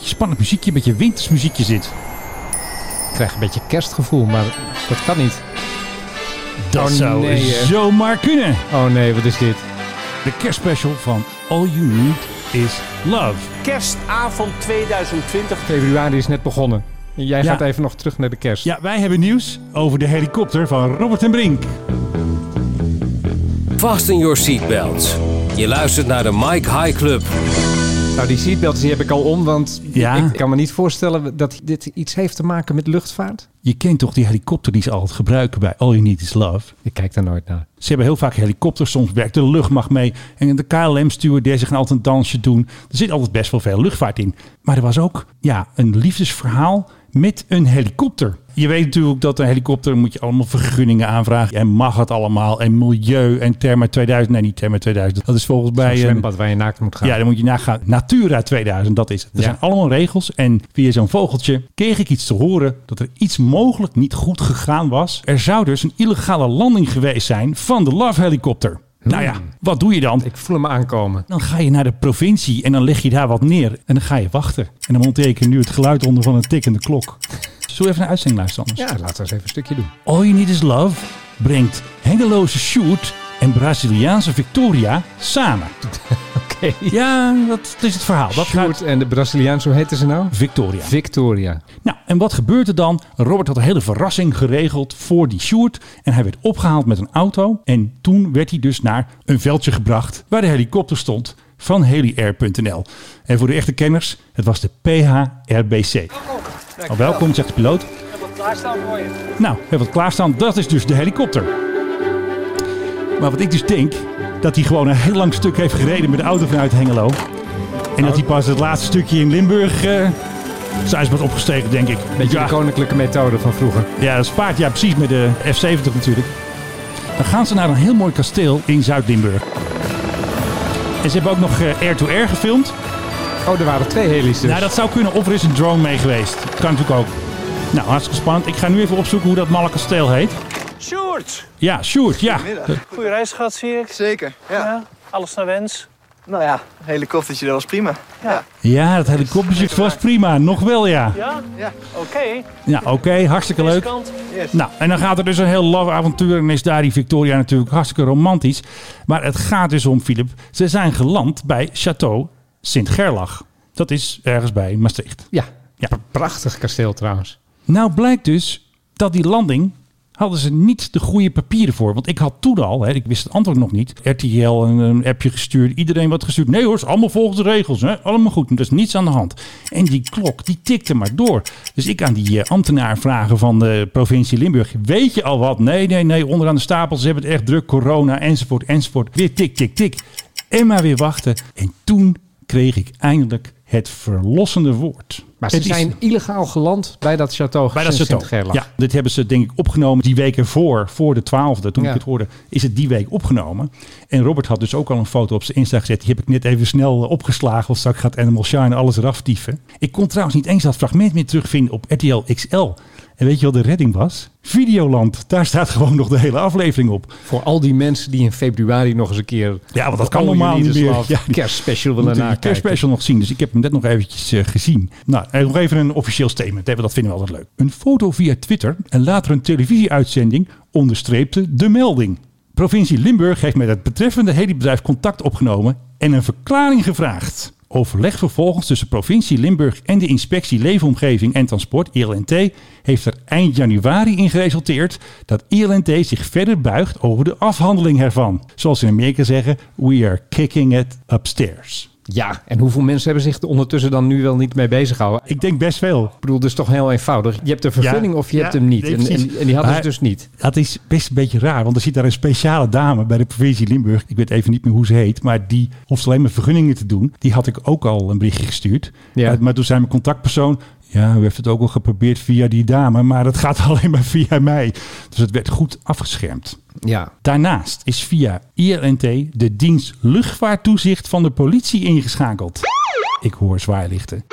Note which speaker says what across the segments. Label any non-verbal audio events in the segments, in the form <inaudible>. Speaker 1: spannend muziekje, een beetje wintersmuziekje zit.
Speaker 2: Ik krijg een beetje kerstgevoel, maar dat kan niet.
Speaker 1: Dat
Speaker 2: Oh,
Speaker 1: zou
Speaker 2: nee, hè.
Speaker 1: zomaar kunnen.
Speaker 2: Oh nee, wat is dit?
Speaker 1: De kerstspecial van All You Need Is Love.
Speaker 3: Kerstavond 2020.
Speaker 2: Februari is net begonnen. En jij
Speaker 1: Ja.
Speaker 2: gaat even nog terug naar de kerst.
Speaker 1: Ja, wij hebben nieuws over de helikopter van Robert en Brink.
Speaker 4: Vast in your seatbelts. Je luistert naar de Mike High Club.
Speaker 2: Nou, die seatbelts die heb ik al om, want
Speaker 1: Ja.
Speaker 2: ik kan me niet voorstellen dat dit iets heeft te maken met luchtvaart.
Speaker 1: Je kent toch die helikopter die ze altijd gebruiken bij All You Need Is Love?
Speaker 2: Ik kijk daar nooit naar.
Speaker 1: Ze hebben heel vaak helikopters, soms werkt de luchtmacht mee. En de KLM-stewardessen gaan altijd een dansje doen. Er zit altijd best wel veel luchtvaart in. Maar er was ook ja, een liefdesverhaal met een helikopter. Je weet natuurlijk dat een helikopter moet je allemaal vergunningen aanvragen. En mag het allemaal. En milieu en Therma 2000. Nee, niet Therma 2000. Dat is volgens
Speaker 2: Bij
Speaker 1: mij...
Speaker 2: een
Speaker 1: een-
Speaker 2: zwembad waar je naakt moet gaan.
Speaker 1: eh, Ja, dan moet je nagaan. Natura 2000, dat is het. Er
Speaker 2: Ja.
Speaker 1: zijn allemaal regels. En via zo'n vogeltje kreeg ik iets te horen dat er iets mogelijk niet goed gegaan was. Er zou dus een illegale landing geweest zijn van de Love helikopter. Nou ja, wat doe je dan?
Speaker 2: Hmm. Ik voel hem aankomen.
Speaker 1: Dan ga je naar de provincie en dan leg je daar wat neer. En dan ga je wachten. En dan monteer ik er nu het geluid onder van een tikkende klok. Zullen we even naar uitzending luisteren anders?
Speaker 2: Ja, Dus laten we eens even een stukje
Speaker 1: <laughs>
Speaker 2: doen.
Speaker 1: All You Need Is Love brengt hengeloze shoot en Braziliaanse Victoria
Speaker 2: <laughs>
Speaker 1: samen.
Speaker 2: Oké.
Speaker 1: Ja, dat is het verhaal. Dat gaat
Speaker 2: Sjoerd en de Braziliaan, zo heette ze nou?
Speaker 1: Victoria.
Speaker 2: Victoria.
Speaker 1: Nou, en wat gebeurt er dan? Robert had een hele verrassing geregeld voor die Sjoerd. En hij werd opgehaald met een auto. En toen werd hij dus naar een veldje gebracht waar de helikopter stond van heliair.nl. En voor de echte kenners, het was de PHRBC. Al welkom, zegt de piloot. Nou, we hebben wat klaarstaan. Dat is dus de helikopter. Maar wat ik dus denk, dat hij gewoon een heel lang stuk heeft gereden met de auto vanuit Hengelo. En dat hij pas het laatste stukje in Limburg eh zijn is wat opgestegen, denk ik.
Speaker 2: Beetje
Speaker 1: ja,
Speaker 2: de koninklijke methode van vroeger.
Speaker 1: ja, dat spaart ja precies met de F-70 natuurlijk. Dan gaan ze naar een heel mooi kasteel in Zuid-Limburg. En ze hebben ook nog eh, air-to-air gefilmd.
Speaker 2: Oh, er waren twee helis dus.
Speaker 1: Nou, dat zou kunnen. Of er is een drone mee geweest. Kan natuurlijk ook. Nou, hartstikke spannend. Ik ga nu even opzoeken hoe dat malle kasteel heet.
Speaker 3: Sjoerd,
Speaker 1: Ja, Sjoerd, ja.
Speaker 3: goede reis gehad, zie ik.
Speaker 5: Zeker, ja.
Speaker 3: Ja, alles naar wens.
Speaker 5: Nou ja, een helikoptertje, dat was prima.
Speaker 1: Ja, dat helikopterzicht was prima. Nog wel, ja.
Speaker 3: Ja?
Speaker 5: Ja.
Speaker 3: Oké,
Speaker 1: Ja, oké. hartstikke
Speaker 3: deze
Speaker 1: leuk.
Speaker 3: kant.
Speaker 1: Nou, en dan gaat er dus een heel love avontuur. En is daar die Victoria natuurlijk hartstikke romantisch. Maar het gaat dus om, Philip. Ze zijn geland bij Château Sint-Gerlach. Dat is ergens bij Maastricht.
Speaker 2: Ja.
Speaker 1: Ja.
Speaker 2: P- Prachtig kasteel trouwens.
Speaker 1: Nou blijkt dus dat die landing hadden ze niet de goede papieren voor. Want ik had toen al, hè, ik wist het antwoord nog niet, RTL een, een appje gestuurd, iedereen wat gestuurd. Nee hoor, is allemaal volgens de regels. Hè? Allemaal goed, er is niets aan de hand. En die klok, die tikte maar door. Dus ik aan die eh, ambtenaar vragen van de provincie Limburg, weet je al wat? Nee, nee, nee, onderaan de stapel, ze hebben het echt druk, corona, enzovoort, enzovoort. Weer tik, tik, tik. En maar weer wachten. En toen kreeg ik eindelijk het verlossende woord.
Speaker 2: Maar ze
Speaker 1: Het is-
Speaker 2: zijn illegaal geland bij dat château
Speaker 1: bij dat
Speaker 2: Sint-
Speaker 1: château.
Speaker 2: Sint-Gerlach.
Speaker 1: Ja, dit hebben ze denk ik opgenomen die week ervoor, voor de 12e. Toen
Speaker 2: Ja.
Speaker 1: ik het hoorde, is het die week opgenomen. En Robert had dus ook al een foto op zijn Insta gezet. Die heb ik net even snel eh, opgeslagen. Want straks gaat Animal Shine alles eraf dieven. Ik kon trouwens niet eens dat fragment meer terugvinden op RTL XL. En weet je wat de redding was? Videoland. Daar staat gewoon nog de hele aflevering op.
Speaker 2: Voor al die mensen die in februari nog eens een keer...
Speaker 1: Ja, want dat
Speaker 2: de
Speaker 1: kan
Speaker 2: All You
Speaker 1: normaal
Speaker 2: Need
Speaker 1: niet
Speaker 2: Is
Speaker 1: meer. <laughs>
Speaker 2: Love
Speaker 1: Ja, die-
Speaker 2: kerstspecial
Speaker 1: We
Speaker 2: willen
Speaker 1: moeten de
Speaker 2: nakijken.
Speaker 1: kerstspecial nog zien, dus ik heb hem net nog eventjes eh, gezien. Nou, en nog even een officieel statement, hè, want dat vinden we altijd leuk. Een foto via Twitter en later een televisieuitzending onderstreepte de melding. Provincie Limburg heeft met het betreffende helibedrijf contact opgenomen en een verklaring gevraagd. Overleg vervolgens tussen provincie Limburg en de inspectie Leefomgeving en Transport, ILNT, heeft er eind januari in geresulteerd dat ILNT zich verder buigt over de afhandeling ervan. Zoals ze in Amerika zeggen, we are kicking it upstairs.
Speaker 2: Ja, en hoeveel mensen hebben zich er ondertussen dan nu wel niet mee bezig gehouden?
Speaker 1: Ik denk best veel.
Speaker 2: Ik bedoel, dat is toch heel eenvoudig. Je hebt een vergunning
Speaker 1: Ja,
Speaker 2: of je hebt
Speaker 1: ja,
Speaker 2: hem niet.
Speaker 1: nee,
Speaker 2: en,
Speaker 1: precies.
Speaker 2: en, en die hadden ze
Speaker 1: Maar-
Speaker 2: dus niet.
Speaker 1: Dat is best een beetje raar, want er zit daar een speciale dame bij de provincie Limburg. Ik weet even niet meer hoe ze heet, maar die hoeft alleen maar vergunningen te doen. Die had ik ook al een berichtje gestuurd.
Speaker 2: Ja.
Speaker 1: Maar- Maar toen zei mijn contactpersoon, ja, u heeft het ook al geprobeerd via die dame, maar dat gaat <laughs> alleen maar via mij. Dus het werd goed afgeschermd.
Speaker 2: Ja.
Speaker 1: Daarnaast is via ILNT de dienst luchtvaarttoezicht van de politie ingeschakeld. Ik hoor zwaailichten.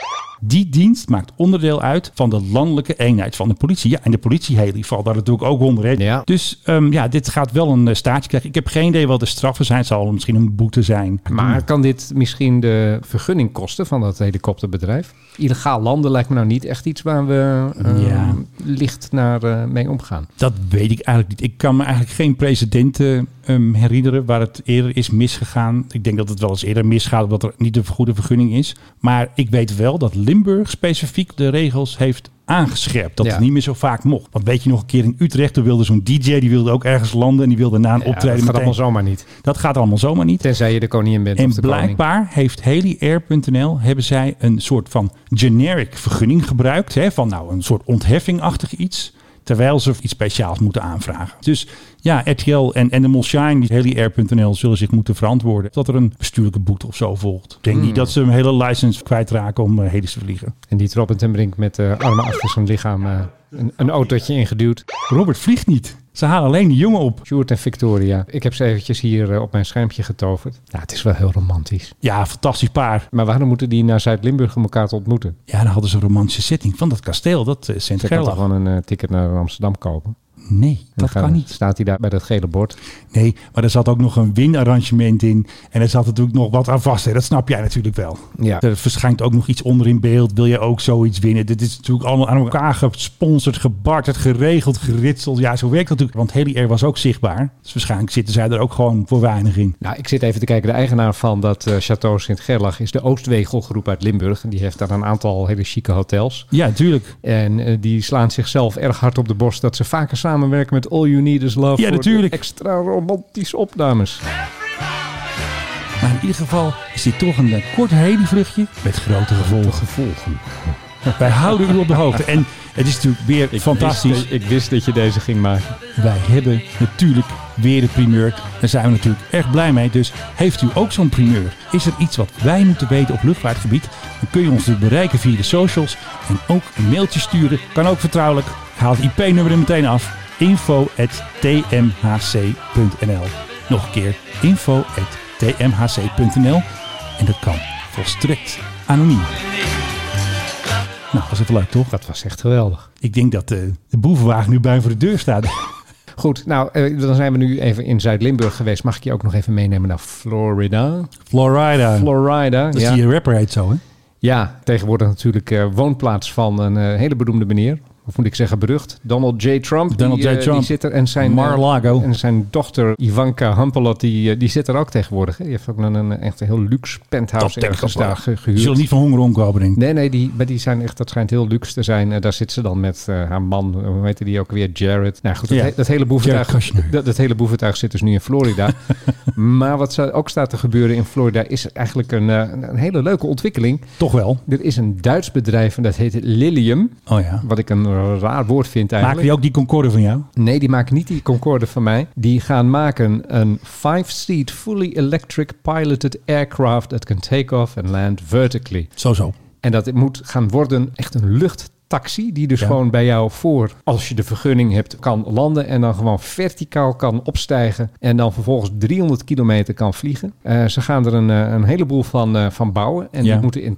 Speaker 1: Die dienst maakt onderdeel uit van de landelijke eenheid van de politie. Ja, en de politieheli valt daar natuurlijk ook onder. hè.
Speaker 2: Ja.
Speaker 1: Dus ehm, ja, dit gaat wel een eh, staartje krijgen. Ik heb geen idee wat de straffen zijn. Het zal misschien een boete zijn.
Speaker 2: Maar kan dit misschien de vergunning kosten van dat helikopterbedrijf? Illegaal landen lijkt me nou niet echt iets waar we eh,
Speaker 1: Ja.
Speaker 2: licht naar, eh, mee omgaan.
Speaker 1: Dat weet ik eigenlijk niet. Ik kan me eigenlijk geen precedenten ehm, herinneren waar het eerder is misgegaan. Ik denk dat het wel eens eerder misgaat omdat er niet de goede vergunning is. Maar ik weet wel dat Limburg specifiek de regels heeft aangescherpt. Dat
Speaker 2: Ja.
Speaker 1: het niet meer zo vaak mocht. Want weet je nog een keer in Utrecht, toen wilde zo'n DJ, die wilde ook ergens landen en die wilde na een
Speaker 2: Ja, dat
Speaker 1: optreden
Speaker 2: gaat
Speaker 1: meteen.
Speaker 2: allemaal zomaar niet.
Speaker 1: Dat gaat allemaal zomaar niet.
Speaker 2: Tenzij je de koningin bent
Speaker 1: En
Speaker 2: of de koning.
Speaker 1: blijkbaar heeft heliair.nl hebben zij een soort van generic vergunning gebruikt. Hè, van nou een soort ontheffingachtig iets. Terwijl ze iets speciaals moeten aanvragen. Dus ja, RTL en Animal Shine, die heliair.nl, zullen zich moeten verantwoorden. Dat er een bestuurlijke boete of zo volgt. Ik
Speaker 2: Hmm.
Speaker 1: denk niet dat ze een hele license kwijtraken om eh, helis te vliegen.
Speaker 2: En die Robin ten Brink met eh armen achter zijn lichaam eh, een, een autootje ingeduwd.
Speaker 1: Robert vliegt niet. Ze halen alleen de jongen op.
Speaker 2: Sjoerd en Victoria. Ik heb ze eventjes hier eh, op mijn schermpje getoverd. Nou, het is wel heel romantisch.
Speaker 1: Ja, fantastisch paar.
Speaker 2: Maar waarom moeten die naar Zuid-Limburg om elkaar te ontmoeten?
Speaker 1: Ja, dan hadden ze een romantische setting van dat kasteel, dat eh, Sint
Speaker 2: Ze kan toch
Speaker 1: Gerlach.
Speaker 2: gewoon een eh, ticket naar Amsterdam kopen. En
Speaker 1: Nee,
Speaker 2: dan
Speaker 1: dat
Speaker 2: gaan-
Speaker 1: kan niet.
Speaker 2: Staat hij daar bij dat gele bord.
Speaker 1: Nee, maar er zat ook nog een winarrangement in. En er zat natuurlijk nog wat aan vast. Hè? Dat snap jij natuurlijk wel.
Speaker 2: Ja.
Speaker 1: Er verschijnt ook nog iets onder in beeld. Wil je ook zoiets winnen? Dit is natuurlijk allemaal aan elkaar gesponsord, gebarterd, geregeld, geritseld. Ja, zo werkt dat natuurlijk. Want Heli Air was ook zichtbaar. Dus waarschijnlijk zitten zij er ook gewoon voor weinig in.
Speaker 2: Nou, ik zit even te kijken. De eigenaar van dat eh, Château Sint-Gerlach is de Oostwegelgroep uit Limburg. En Die heeft daar een aantal hele chique hotels.
Speaker 1: Ja, natuurlijk.
Speaker 2: En eh, die slaan zichzelf erg hard op de borst dat ze vaker samenwerken met All You Need Is Love.
Speaker 1: Ja,
Speaker 2: voor de
Speaker 1: natuurlijk.
Speaker 2: Extra romantische opnames.
Speaker 1: Maar in ieder geval is dit toch een eh, kort heli-vluchtje met grote gevolgen. gevolgen. Wij houden u op de hoogte. En het is natuurlijk weer fantastisch.
Speaker 2: ik wist dat je deze ging maken.
Speaker 1: Wij hebben natuurlijk weer de primeur. Daar zijn we natuurlijk erg blij mee. Dus heeft u ook zo'n primeur? Is er iets wat wij moeten weten op luchtvaartgebied? Dan kun je ons natuurlijk bereiken via de socials. En ook een mailtje sturen. Kan ook vertrouwelijk. Ik haal het IP-nummer er meteen af. info.tmhc.nl Nog een keer. info.tmhc.nl En dat kan volstrekt anoniem. Nou, was even leuk toch?
Speaker 2: Dat was echt geweldig.
Speaker 1: Ik denk dat eh, de boevenwagen nu bij voor de deur staat. <laughs>
Speaker 2: Goed, nou, eh, dan zijn we nu even in Zuid-Limburg geweest. Mag ik je ook nog even meenemen naar Florida?
Speaker 1: Florida.
Speaker 2: Florida,
Speaker 1: Dat is
Speaker 2: ja.
Speaker 1: die rapper heet zo, hè?
Speaker 2: Ja, tegenwoordig natuurlijk eh, woonplaats van een eh, hele beroemde meneer. Of moet ik zeggen berucht? Donald J. Trump.
Speaker 1: Donald
Speaker 2: die,
Speaker 1: J.
Speaker 2: eh,
Speaker 1: Trump.
Speaker 2: Die zit er en zijn, eh,
Speaker 1: Mar-a-Lago.
Speaker 2: en zijn dochter Ivanka Hampelot, die, eh, die zit er ook tegenwoordig. Hè? Die heeft ook een, een echt een heel luxe penthouse
Speaker 1: denk ik
Speaker 2: ergens
Speaker 1: ook wel.
Speaker 2: daar ge-
Speaker 1: Die
Speaker 2: gehuurd.
Speaker 1: zullen niet van honger omkomen, denk ik.
Speaker 2: Nee, nee, die, maar die zijn echt, dat schijnt heel luxe te zijn. Eh, daar zit ze dan met eh, haar man, eh, hoe heette die ook weer, Jared. Nou goed, dat,
Speaker 1: Ja.
Speaker 2: he- dat hele
Speaker 1: Jared
Speaker 2: boeventuig,
Speaker 1: Kushner.
Speaker 2: dat, dat hele boeventuig zit dus nu in
Speaker 1: <laughs>
Speaker 2: Florida. maar wat zou- ook staat te gebeuren in Florida is eigenlijk een, eh, een een hele leuke ontwikkeling.
Speaker 1: Toch wel.
Speaker 2: Er is een Duits bedrijf en dat heet Lilium.
Speaker 1: Oh ja.
Speaker 2: Wat ik een raar woord vind
Speaker 1: Maken
Speaker 2: eigenlijk.
Speaker 1: die ook die Concorde van jou?
Speaker 2: Nee, die maken niet die Concorde van mij. Die gaan maken een five-seat fully electric piloted aircraft that can take off and land vertically.
Speaker 1: Zo, zo.
Speaker 2: En dat moet gaan worden echt een luchttaxi die dus
Speaker 1: Ja.
Speaker 2: gewoon bij jou voor, als je de vergunning hebt, kan landen en dan gewoon verticaal kan opstijgen en dan vervolgens 300 kilometer kan vliegen. Eh, ze gaan er een, eh, een heleboel van, eh, van bouwen en
Speaker 1: Ja.
Speaker 2: die moeten in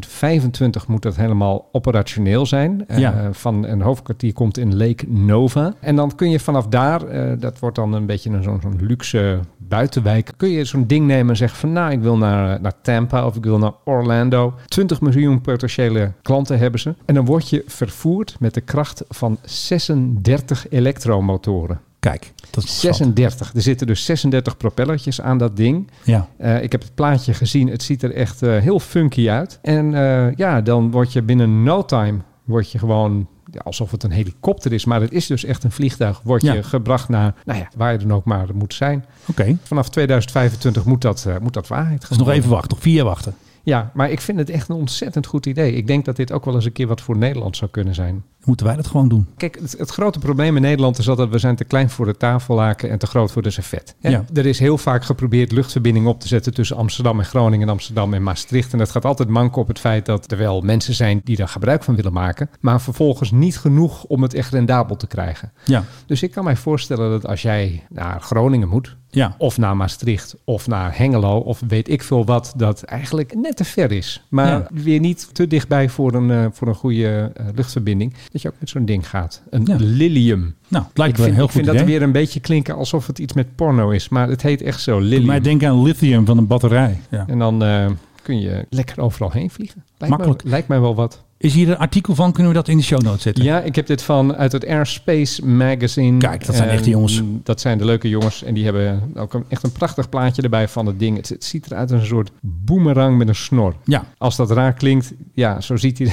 Speaker 2: 2025 moet dat helemaal operationeel zijn. Eh,
Speaker 1: Ja.
Speaker 2: Van een hoofdkwartier komt in Lake Nova en dan kun je vanaf daar, eh, dat wordt dan een beetje een zo'n zo'n luxe buitenwijk, kun je zo'n ding nemen en zeggen van nou ik wil naar, eh, naar Tampa of ik wil naar Orlando. 20 miljoen potentiële klanten hebben ze. En dan word je vervoerd met de kracht van 36 elektromotoren.
Speaker 1: Kijk, dat is
Speaker 2: 36. Er zitten dus 36 propellertjes aan dat ding.
Speaker 1: schat. Ja.
Speaker 2: Eh, ik heb het plaatje gezien. Het ziet er echt eh, heel funky uit. En eh, ja, dan word je binnen no time word je gewoon ja, alsof het een helikopter is. Maar het is dus echt een vliegtuig. Word
Speaker 1: Ja.
Speaker 2: je gebracht naar nou ja, waar je dan ook maar moet zijn.
Speaker 1: Oké.
Speaker 2: Vanaf 2025 moet dat, eh, moet dat waarheid
Speaker 1: Dus
Speaker 2: gaan
Speaker 1: nog
Speaker 2: worden.
Speaker 1: even wachten. Nog vier jaar wachten.
Speaker 2: Ja, maar ik vind het echt een ontzettend goed idee. Ik denk dat dit ook wel eens een keer wat voor Nederland zou kunnen zijn.
Speaker 1: Dan moeten wij dat gewoon doen.
Speaker 2: Kijk, het, het grote probleem in Nederland is altijd... we zijn te klein voor de tafellaken en te groot voor de servet. Hè?
Speaker 1: Ja.
Speaker 2: Er is heel vaak geprobeerd luchtverbindingen op te zetten... tussen Amsterdam en Groningen, Amsterdam en Maastricht. En dat gaat altijd manken op het feit dat er wel mensen zijn... die daar gebruik van willen maken... maar vervolgens niet genoeg om het echt rendabel te krijgen.
Speaker 1: Ja.
Speaker 2: Dus ik kan mij voorstellen dat als jij naar Groningen moet...
Speaker 1: Ja.
Speaker 2: Of naar Maastricht, of naar Hengelo, of weet ik veel wat, dat eigenlijk net te ver is. Maar
Speaker 1: Ja.
Speaker 2: weer niet te dichtbij voor een, eh, voor een goede eh, luchtverbinding. Dat je ook met zo'n ding gaat. Een
Speaker 1: Ja.
Speaker 2: Lilium.
Speaker 1: Nou, het lijkt
Speaker 2: ik
Speaker 1: me
Speaker 2: vind,
Speaker 1: een heel goed
Speaker 2: ik vind
Speaker 1: idee.
Speaker 2: dat weer een beetje klinken alsof het iets met porno is. Maar het heet echt zo,
Speaker 1: Doet
Speaker 2: Lilium.
Speaker 1: mij denken aan lithium van een batterij. Ja.
Speaker 2: En dan eh, kun je lekker overal heen vliegen. Lijkt
Speaker 1: Makkelijk.
Speaker 2: Me, lijkt mij wel wat.
Speaker 1: Is hier een artikel van? Kunnen we dat in de show notes zetten?
Speaker 2: Ja, ik heb dit van uit het Airspace Magazine.
Speaker 1: Kijk, dat zijn
Speaker 2: En
Speaker 1: echte jongens.
Speaker 2: Dat zijn de leuke jongens. En die hebben ook een, echt een prachtig plaatje erbij van het ding. Het, het ziet eruit als een soort boemerang met een snor.
Speaker 1: Ja.
Speaker 2: Als dat raar klinkt, ja, zo ziet hij. <laughs>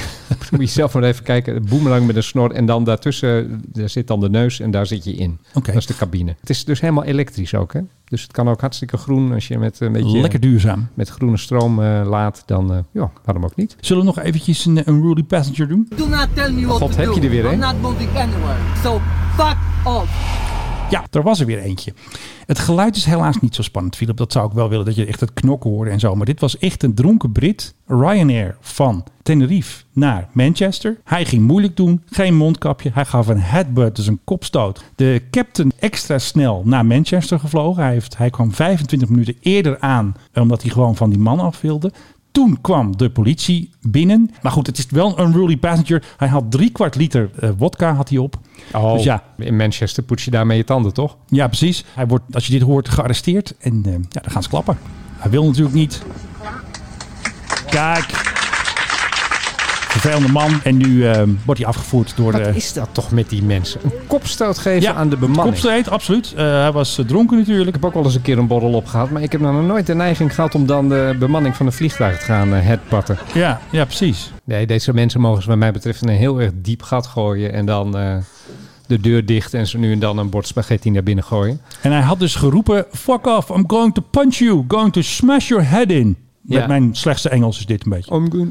Speaker 2: Moet je zelf maar even kijken. Een boemerang met een snor. En dan daartussen, daar zit dan de neus en daar zit je in.
Speaker 1: Oké.
Speaker 2: Dat is de cabine. Het is dus helemaal elektrisch ook, hè? Dus het kan ook hartstikke groen als je met een beetje...
Speaker 1: Lekker duurzaam.
Speaker 2: Met groene stroom eh, laat, dan eh, ja, waarom ook niet?
Speaker 1: Zullen we nog eventjes een, een Rudy Passenger doen?
Speaker 6: Do not tell me what
Speaker 2: God,
Speaker 6: to
Speaker 2: heb
Speaker 6: do.
Speaker 2: je er weer, hè?
Speaker 6: I'm not moving anywhere. So fuck off.
Speaker 1: Ja, er was er weer eentje. Het geluid is helaas niet zo spannend, Philip. Dat zou ik wel willen, dat je echt het knokken hoorde en zo. Maar dit was echt een dronken Brit. Ryanair van Tenerife naar Manchester. Hij ging moeilijk doen, geen mondkapje. Hij gaf een headbutt, dus een kopstoot. De captain extra snel naar Manchester gevlogen. Hij, heeft, hij kwam 25 minuten eerder aan, omdat hij gewoon van die man af wilde. Toen kwam de politie binnen. Maar goed, het is wel een unruly passenger. Hij had drie kwart liter eh, wodka had hij op.
Speaker 2: Oh,
Speaker 1: Dus ja,
Speaker 2: in Manchester poets je daarmee je tanden, toch?
Speaker 1: ja, precies. Hij wordt, als je dit hoort, gearresteerd. En eh, ja, dan gaan ze klappen. Hij wil natuurlijk niet. Kijk. Vervelende man. En nu eh, wordt hij afgevoerd door
Speaker 2: Wat
Speaker 1: de...
Speaker 2: is dat toch met die mensen? Een kopstoot geven
Speaker 1: ja,
Speaker 2: aan de bemanning.
Speaker 1: Kopstreet, absoluut. Eh, hij was eh, dronken natuurlijk.
Speaker 2: Ik heb ook wel eens een keer een borrel opgehaald, maar ik heb nou nog nooit de neiging gehad om dan de bemanning van een vliegtuig te gaan eh, headpatten.
Speaker 1: Ja, ja precies.
Speaker 2: Nee, deze mensen mogen ze wat mij betreft in een heel erg diep gat gooien en dan eh, de deur dicht en ze nu en dan een bord spaghetti naar binnen gooien.
Speaker 1: En hij had dus geroepen... Fuck off, I'm going to punch you. Going to smash your head in. Met
Speaker 2: Ja.
Speaker 1: mijn slechtste Engels is dit een beetje.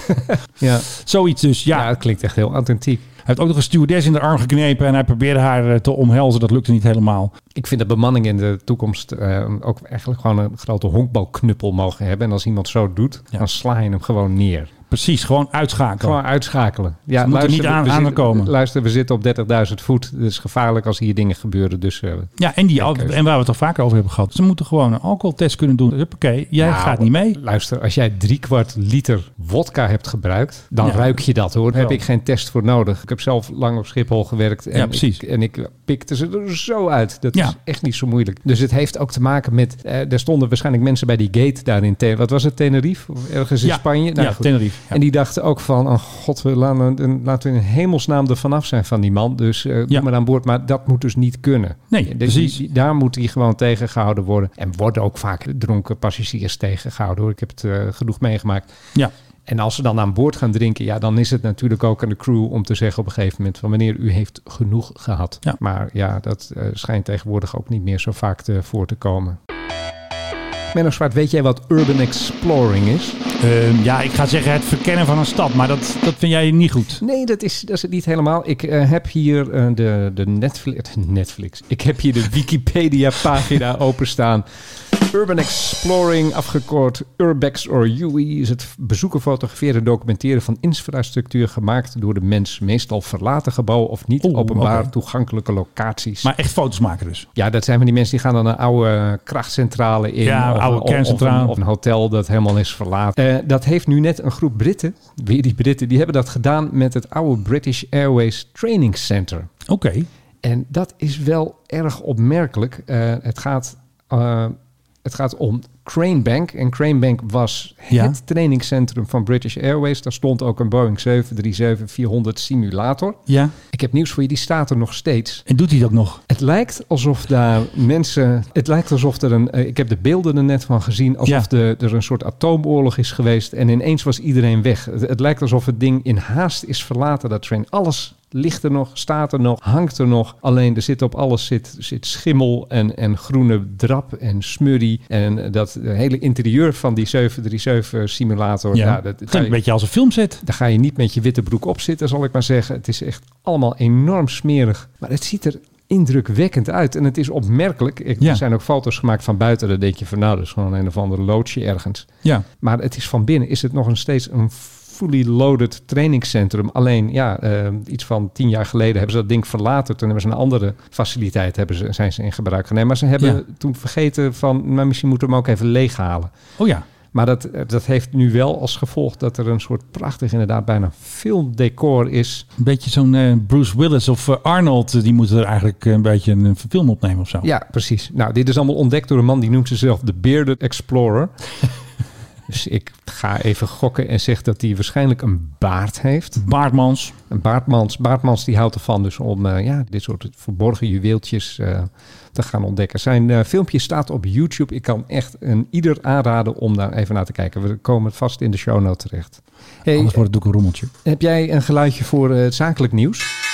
Speaker 2: <laughs> ja.
Speaker 1: Zoiets dus,
Speaker 2: Oh. ja, het klinkt echt heel authentiek.
Speaker 1: Hij heeft ook nog een stewardess in de arm geknepen... en hij probeerde haar eh, te omhelzen. Dat lukte niet helemaal.
Speaker 2: Ik vind dat bemanning in de toekomst eh, ook eigenlijk gewoon een grote honkbalknuppel mogen hebben. En als iemand zo doet,
Speaker 1: Ja.
Speaker 2: dan sla je hem gewoon neer.
Speaker 1: Precies, gewoon uitschakelen.
Speaker 2: Gewoon uitschakelen. Ja,
Speaker 1: moeten niet aan-
Speaker 2: we
Speaker 1: aan
Speaker 2: zitten-
Speaker 1: komen.
Speaker 2: Luister, we zitten op 30.000 voet. Het is gevaarlijk als hier dingen gebeuren. Dus eh,
Speaker 1: Ja, en, die, al-
Speaker 2: keuze.
Speaker 1: en waar we het al vaker over hebben gehad. Ze moeten gewoon een alcoholtest kunnen doen. Huppakee, jij
Speaker 2: nou,
Speaker 1: gaat niet mee.
Speaker 2: luister, als jij drie kwart liter wodka hebt gebruikt, dan
Speaker 1: Ja.
Speaker 2: ruik je dat hoor. Daar heb
Speaker 1: Wel.
Speaker 2: ik geen test voor nodig. Ik heb zelf lang op Schiphol gewerkt. En
Speaker 1: Ja, precies.
Speaker 2: Ik, en ik pikte ze er zo uit. Dat
Speaker 1: Ja.
Speaker 2: is echt niet zo moeilijk. Dus het heeft ook te maken met, eh, er stonden waarschijnlijk mensen bij die gate daar in, Te- wat was het, Tenerife? Of ergens in
Speaker 1: Ja.
Speaker 2: Spanje? Nou
Speaker 1: ja,
Speaker 2: goed.
Speaker 1: Tenerife. Ja.
Speaker 2: En die dachten ook van, oh god, we laten, laten we in hemelsnaam er vanaf zijn van die man. Dus eh
Speaker 1: Ja.
Speaker 2: doe maar aan boord. Maar dat moet dus niet kunnen.
Speaker 1: Nee,
Speaker 2: Die-
Speaker 1: precies.
Speaker 2: die- daar moet hij gewoon tegengehouden worden. En worden ook vaak dronken passagiers tegengehouden hoor. Ik heb het eh, genoeg meegemaakt.
Speaker 1: ja.
Speaker 2: En als ze dan aan boord gaan drinken, ja, dan is het natuurlijk ook aan de crew om te zeggen op een gegeven moment van meneer, u heeft genoeg gehad.
Speaker 1: Ja.
Speaker 2: Maar ja, dat eh, schijnt tegenwoordig ook niet meer zo vaak te, voor te komen. Menno Zwart, weet jij wat urban exploring is?
Speaker 1: Ehm, ja, ik ga zeggen het verkennen van een stad. Maar dat, dat vind jij niet goed.
Speaker 2: Nee, dat is, dat is het niet helemaal. Ik eh, heb hier eh, de, de Netflix, Netflix. Ik
Speaker 1: <laughs>
Speaker 2: heb hier de Wikipedia-pagina openstaan. Urban Exploring, afgekort Urbex or UI, is het bezoeken, fotograferen en documenteren van infrastructuur gemaakt door de mens. Meestal verlaten gebouwen of niet
Speaker 1: Oeh,
Speaker 2: openbaar
Speaker 1: oké.
Speaker 2: toegankelijke locaties.
Speaker 1: Maar echt foto's maken dus.
Speaker 2: Ja, dat zijn van die mensen die gaan dan een oude krachtcentrale in.
Speaker 1: Ja, oude
Speaker 2: een-
Speaker 1: kerncentrale.
Speaker 2: Of een, of een hotel dat helemaal is verlaten. Eh, dat heeft nu net een groep Britten, weer die Britten, die hebben dat gedaan met het oude British Airways Training Center.
Speaker 1: Oké.
Speaker 2: En dat is wel erg opmerkelijk. Eh, het, gaat, eh, het gaat om Cranebank. En Cranebank was
Speaker 1: Ja.
Speaker 2: het trainingscentrum van British Airways. Daar stond ook een Boeing 737-400 simulator.
Speaker 1: Ja.
Speaker 2: Ik heb nieuws voor je, die staat er nog steeds.
Speaker 1: En doet hij dat nog?
Speaker 2: Het lijkt alsof daar mensen. Het lijkt alsof er een. eh, Ik heb de beelden er net van gezien. Alsof
Speaker 1: Ja.
Speaker 2: de, er een soort atoomoorlog is geweest. En ineens was iedereen weg. Het, het lijkt alsof het ding in haast is verlaten, dat train. Alles ligt er nog, staat er nog, hangt er nog. Alleen er zit op alles zit, zit schimmel en, en groene drap en smurrie. En eh, dat hele interieur van die 737 simulator.
Speaker 1: Ja.
Speaker 2: nou, dat,
Speaker 1: Klinkt een beetje als een filmset.
Speaker 2: daar ga je niet met je witte broek op zitten, zal ik maar zeggen. Het is echt allemaal enorm smerig. Maar het ziet er indrukwekkend uit. En het is opmerkelijk. Ik-
Speaker 1: Ja.
Speaker 2: Er zijn ook foto's gemaakt van buiten. Dan denk je van nou, dat is gewoon een of ander loodje ergens.
Speaker 1: Ja.
Speaker 2: Maar het is van binnen is het nog een steeds een fully loaded trainingscentrum. Alleen ja, eh, iets van tien jaar geleden hebben ze dat ding verlaten. Toen hebben ze een andere faciliteit hebben ze, zijn ze in gebruik genomen. Maar ze hebben
Speaker 1: Ja.
Speaker 2: toen vergeten van, maar misschien moeten we hem ook even leeghalen.
Speaker 1: Oh ja.
Speaker 2: Maar dat, eh, dat heeft nu wel als gevolg dat er een soort prachtig, inderdaad bijna filmdecor is.
Speaker 1: Een beetje zo'n eh, Bruce Willis of eh, Arnold. eh, Die moeten er eigenlijk een beetje een film opnemen of zo.
Speaker 2: Ja, precies. Nou, dit is allemaal ontdekt door een man die noemt zichzelf de Bearded <laughs> Explorer. dus ik ga even gokken en zeg dat hij waarschijnlijk een baard heeft.
Speaker 1: Baardmans.
Speaker 2: Een baardmans. Baardmans die houdt ervan dus om eh, ja, dit soort verborgen juweeltjes eh, te gaan ontdekken. Zijn eh, filmpje staat op YouTube. Ik kan echt een ieder aanraden om daar even naar te kijken. We komen vast in de show notes terecht. Hey,
Speaker 1: Anders wordt het ook een rommeltje.
Speaker 2: heb jij een geluidje voor eh, het zakelijk nieuws?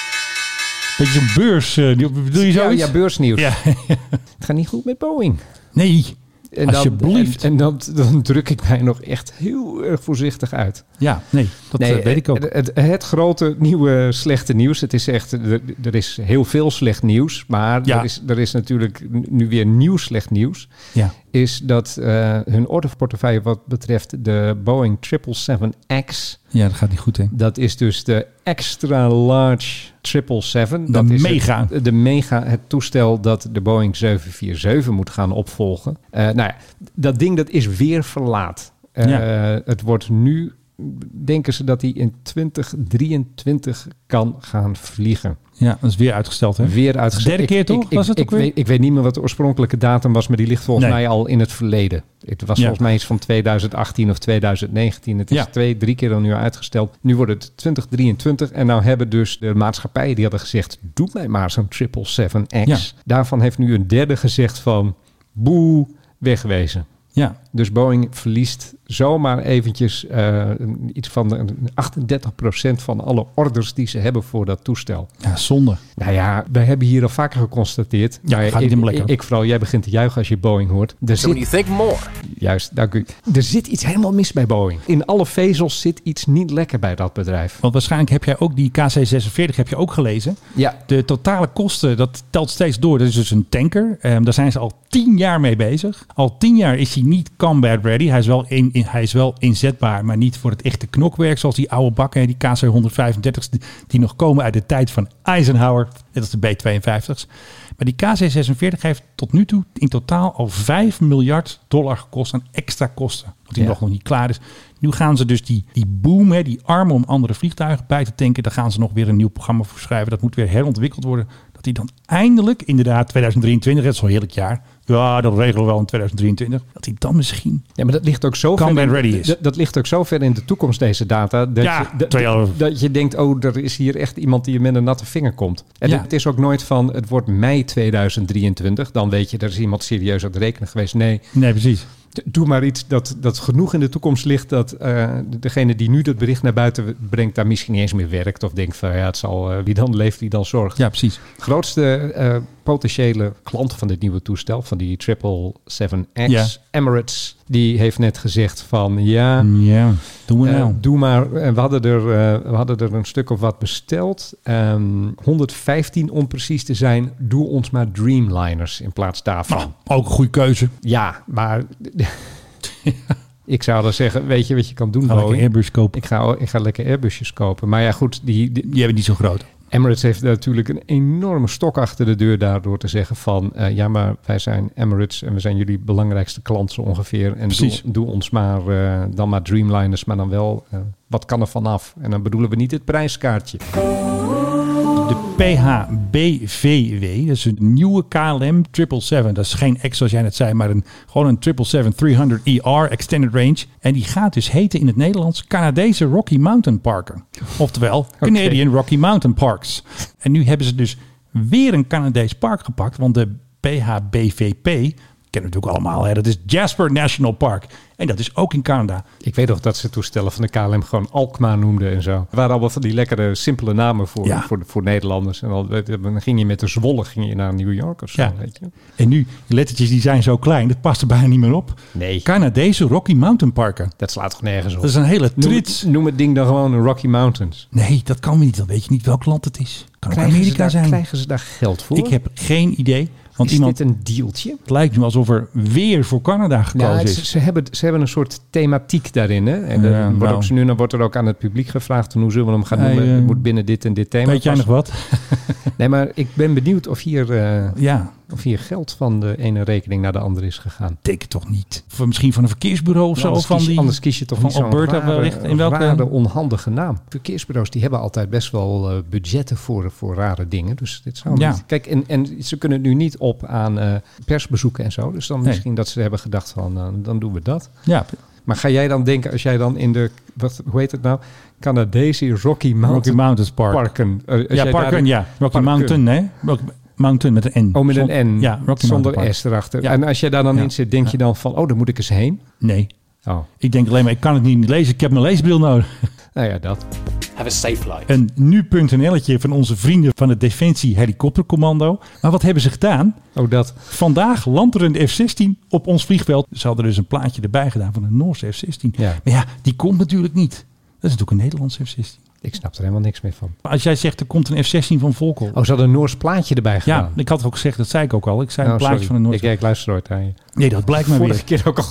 Speaker 1: Beetje zo'n beurs. eh, die- bedoel je
Speaker 2: Ja,
Speaker 1: zoiets?
Speaker 2: ja, beursnieuws.
Speaker 1: Ja.
Speaker 2: <laughs> Het gaat niet goed met Boeing.
Speaker 1: Nee.
Speaker 2: En
Speaker 1: Alsjeblieft.
Speaker 2: Dan, en en dan, dan druk ik mij nog echt heel erg voorzichtig uit.
Speaker 1: Ja, nee. Dat eh, weet ik ook.
Speaker 2: Het, het, het grote nieuwe slechte nieuws. Het is echt, er, er is heel veel slecht nieuws. Maar
Speaker 1: Ja.
Speaker 2: er, is, er is natuurlijk nu weer nieuw slecht nieuws.
Speaker 1: ja.
Speaker 2: Is dat eh, hun orderportefeuille wat betreft de Boeing 777X.
Speaker 1: ja, dat gaat niet goed, hè?
Speaker 2: Dat is dus de extra large 777.
Speaker 1: De
Speaker 2: dat is het-
Speaker 1: mega.
Speaker 2: de mega, het toestel dat de Boeing 747 moet gaan opvolgen. Eh, nou ja, dat ding dat is weer verlaat. Eh, Het wordt nu, denken ze dat hij in 2023 kan gaan vliegen.
Speaker 1: Ja, dat is weer uitgesteld, hè?
Speaker 2: Weer uitgesteld.
Speaker 1: Derde keer
Speaker 2: Ik-
Speaker 1: toch?
Speaker 2: Ik, ik,
Speaker 1: Was het
Speaker 2: ik
Speaker 1: ook weer?
Speaker 2: weet, ik weet niet meer wat de oorspronkelijke datum was, maar die ligt volgens
Speaker 1: Nee.
Speaker 2: mij al in het verleden. Het was
Speaker 1: Ja.
Speaker 2: volgens mij iets van 2018 of 2019. Het is
Speaker 1: Ja.
Speaker 2: twee, drie keer al nu uitgesteld. Nu wordt het 2023 en nou hebben dus de maatschappijen die hadden gezegd, doe mij maar zo'n 777X.
Speaker 1: Ja.
Speaker 2: Daarvan heeft nu een derde gezegd van, boe, wegwezen.
Speaker 1: Ja.
Speaker 2: Dus Boeing verliest zomaar eventjes eh, een- iets van de- 38% van alle orders die ze hebben voor dat toestel.
Speaker 1: ja, zonde.
Speaker 2: Nou ja, wij hebben hier al vaker geconstateerd.
Speaker 1: Ja,
Speaker 2: Maar
Speaker 1: gaat niet
Speaker 2: ik,
Speaker 1: om lekker.
Speaker 2: Ik, ik vooral, jij begint te juichen als je Boeing hoort. Er
Speaker 4: So when
Speaker 2: zit,
Speaker 4: you think more.
Speaker 2: juist, dank u. Er zit iets helemaal mis bij Boeing. In alle vezels zit iets niet lekker bij dat bedrijf.
Speaker 1: Want waarschijnlijk heb jij ook die KC-46 heb je ook gelezen.
Speaker 2: Ja.
Speaker 1: De totale kosten, dat telt steeds door. Dat is dus een tanker. Ehm, daar zijn ze al tien jaar mee bezig. Al tien jaar is hij niet combat ready. Hij is wel, in, in- hij is wel inzetbaar, maar niet voor het echte knokwerk. Zoals die oude bakken, hè, die KC-135's, die, die nog komen uit de tijd van Eisenhower. Net als de B-52's. Maar die KC-46 heeft tot nu toe in totaal al 5 miljard dollar gekost aan extra kosten. Wat die
Speaker 2: Ja.
Speaker 1: nog nog niet klaar is. Nu gaan ze dus die, die boom, hè, die armen om andere vliegtuigen bij te tanken. Daar gaan ze nog weer een nieuw programma voor schrijven. Dat moet weer herontwikkeld worden. Dat die dan eindelijk, inderdaad, 2023, dat is al een heerlijk jaar. Ja, dat regelen we wel in 2023. Dat die dan misschien.
Speaker 2: Ja, maar dat ligt ook zo
Speaker 1: Combat
Speaker 2: ver in,
Speaker 1: ready is.
Speaker 2: Dat, dat ligt ook zo ver in de toekomst, deze data. Dat,
Speaker 1: Ja,
Speaker 2: je, dat,
Speaker 1: twee jaar.
Speaker 2: dat je denkt, oh, er is hier echt iemand die je met een natte vinger komt. En
Speaker 1: Ja.
Speaker 2: het is ook nooit van, het wordt mei 2023. Dan weet je, er is iemand serieus aan het rekenen geweest. Nee,
Speaker 1: Nee, precies.
Speaker 2: D- Doe maar iets dat, dat genoeg in de toekomst ligt dat eh, degene die nu dat bericht naar buiten brengt, daar misschien niet eens meer werkt. Of denkt van ja, het zal eh, wie dan leeft, wie dan zorgt.
Speaker 1: Ja, precies.
Speaker 2: Grootste eh, potentiële klant van dit nieuwe toestel, van die 777X,
Speaker 1: Ja.
Speaker 2: Emirates, die heeft net gezegd van ja,
Speaker 1: Ja, doen we
Speaker 2: eh,
Speaker 1: Mm. nou.
Speaker 2: doe maar. En we hadden er, eh, we hadden er een stuk of wat besteld. Ehm, 115 om precies te zijn. Doe ons maar Dreamliners in plaats daarvan.
Speaker 1: Nou, ook een goede keuze.
Speaker 2: Ja,
Speaker 1: <laughs>
Speaker 2: maar ik zou dan zeggen, weet je wat je kan doen,
Speaker 1: Ga lekker
Speaker 2: Boeing?
Speaker 1: Airbus kopen.
Speaker 2: Ik ga, ik ga lekker Airbusjes kopen. Maar ja, goed, die, die-
Speaker 1: Die hebben niet zo groot.
Speaker 2: Emirates heeft natuurlijk een enorme stok achter de deur daardoor te zeggen van... eh, ja, maar wij zijn Emirates en we zijn jullie belangrijkste klant zo ongeveer. En
Speaker 1: Precies.
Speaker 2: Doe, doe ons maar eh, dan maar Dreamliners, maar dan wel... eh, wat kan er vanaf? En dan bedoelen we niet het prijskaartje.
Speaker 1: De PHBVW, dat is een nieuwe KLM 777. Dat is geen X zoals jij net zei, maar een, gewoon een 777-300ER E Extended Range. En die gaat dus heten in het Nederlands Canadese Rocky Mountain Parken. Oftewel Canadian Rocky Mountain Parks. En nu hebben ze dus weer een Canadees park gepakt, want de PHBVP, kennen we natuurlijk allemaal, hè? dat is Jasper National Park. En dat is ook in Canada.
Speaker 2: Ik weet nog dat ze toestellen van de KLM gewoon Alkmaar noemden en zo. Er waren allemaal van die lekkere, simpele namen voor,
Speaker 1: Ja.
Speaker 2: voor, voor Nederlanders. En dan, dan ging je met de Zwolle ging je naar New York of zo,
Speaker 1: Ja.
Speaker 2: weet je.
Speaker 1: En nu, de lettertjes die zijn zo klein, dat past er bijna niet meer op.
Speaker 2: Nee.
Speaker 1: Canadese Rocky Mountain Parken.
Speaker 2: Dat slaat toch nergens op?
Speaker 1: Dat is een hele
Speaker 2: noem,
Speaker 1: trits.
Speaker 2: het, noem het ding dan gewoon de Rocky Mountains.
Speaker 1: Nee, dat kan we niet. Dan weet je niet welk land het is. Kan ook Amerika
Speaker 2: ze daar,
Speaker 1: zijn.
Speaker 2: krijgen ze daar geld voor?
Speaker 1: Ik heb geen idee. Want
Speaker 2: is
Speaker 1: iemand,
Speaker 2: dit een dealtje?
Speaker 1: het lijkt nu alsof er weer voor Canada gekozen
Speaker 2: Ja, het-
Speaker 1: is.
Speaker 2: ze, hebben, ze hebben een soort thematiek daarin. Hè? En
Speaker 1: Ja,
Speaker 2: dan wordt
Speaker 1: nou.
Speaker 2: ook, ze nu dan wordt er ook aan het publiek gevraagd... van hoe zullen we hem gaan
Speaker 1: Hij,
Speaker 2: noemen?
Speaker 1: eh,
Speaker 2: het moet binnen dit en dit thema
Speaker 1: Weet jij nog
Speaker 2: passen.
Speaker 1: wat?
Speaker 2: Nee, maar ik ben benieuwd of hier, eh,
Speaker 1: Ja,
Speaker 2: of hier geld van de ene rekening naar de andere is gegaan.
Speaker 1: denk het toch niet. Of misschien van een verkeersbureau of zo.
Speaker 2: anders,
Speaker 1: van
Speaker 2: kies,
Speaker 1: die,
Speaker 2: anders kies je toch
Speaker 1: van
Speaker 2: niet zo'n
Speaker 1: Alberta
Speaker 2: rare,
Speaker 1: wellicht? In welke-
Speaker 2: rare, onhandige naam. Verkeersbureaus die hebben altijd best wel eh, budgetten voor, voor rare dingen. Dus dit zou
Speaker 1: Ja.
Speaker 2: niet... Kijk, en, en ze kunnen het nu niet op aan eh, persbezoeken en zo. Dus dan
Speaker 1: Nee.
Speaker 2: misschien dat ze hebben gedacht van, eh, dan doen we dat.
Speaker 1: Ja,
Speaker 2: Maar ga jij dan denken, als jij dan in de, wat, hoe heet het nou? Canadese Rocky
Speaker 1: Rocky
Speaker 2: Mountain
Speaker 1: Mountains Park.
Speaker 2: Parken. Eh, als
Speaker 1: Ja,
Speaker 2: jij
Speaker 1: Parken,
Speaker 2: daar-
Speaker 1: ja. Rocky
Speaker 2: Parken.
Speaker 1: Mountain, hè? Rocky Mountain met een N.
Speaker 2: Oh, met
Speaker 1: Zon-
Speaker 2: een N.
Speaker 1: Ja, Rocky
Speaker 2: Zonder
Speaker 1: Mountain
Speaker 2: S erachter.
Speaker 1: Ja.
Speaker 2: En als jij daar dan
Speaker 1: Ja.
Speaker 2: in zit, denk je dan van, oh, daar moet ik eens heen.
Speaker 1: Park. Nee,
Speaker 2: Oh,
Speaker 1: ik denk alleen maar, ik kan het niet lezen. Ik heb mijn leesbril nodig.
Speaker 2: nou ja, dat.
Speaker 4: Have a safe life.
Speaker 1: Een nu.nl'tje van onze vrienden van het Defensie Helikoptercommando. Maar wat hebben ze gedaan?
Speaker 2: Oh, dat.
Speaker 1: Vandaag landt er een F-16 op ons vliegveld. Ze hadden dus een plaatje erbij gedaan van een Noorse F-16.
Speaker 2: Ja.
Speaker 1: Maar ja, die komt natuurlijk niet. Dat is natuurlijk een Nederlandse F-16.
Speaker 2: Ik snap er helemaal niks meer van.
Speaker 1: Maar als jij zegt, er komt een F-16 van Volkel.
Speaker 2: Oh, ze hadden een Noors plaatje erbij
Speaker 1: ja,
Speaker 2: gedaan.
Speaker 1: ik had ook gezegd, dat zei ik ook al. Ik zei een
Speaker 2: Oh,
Speaker 1: plaatje
Speaker 2: sorry.
Speaker 1: van een
Speaker 2: ik,
Speaker 1: Noorse.
Speaker 2: ik luister nooit naar je.
Speaker 1: Nee, dat blijkt maar weer.
Speaker 2: Vorige keer ook al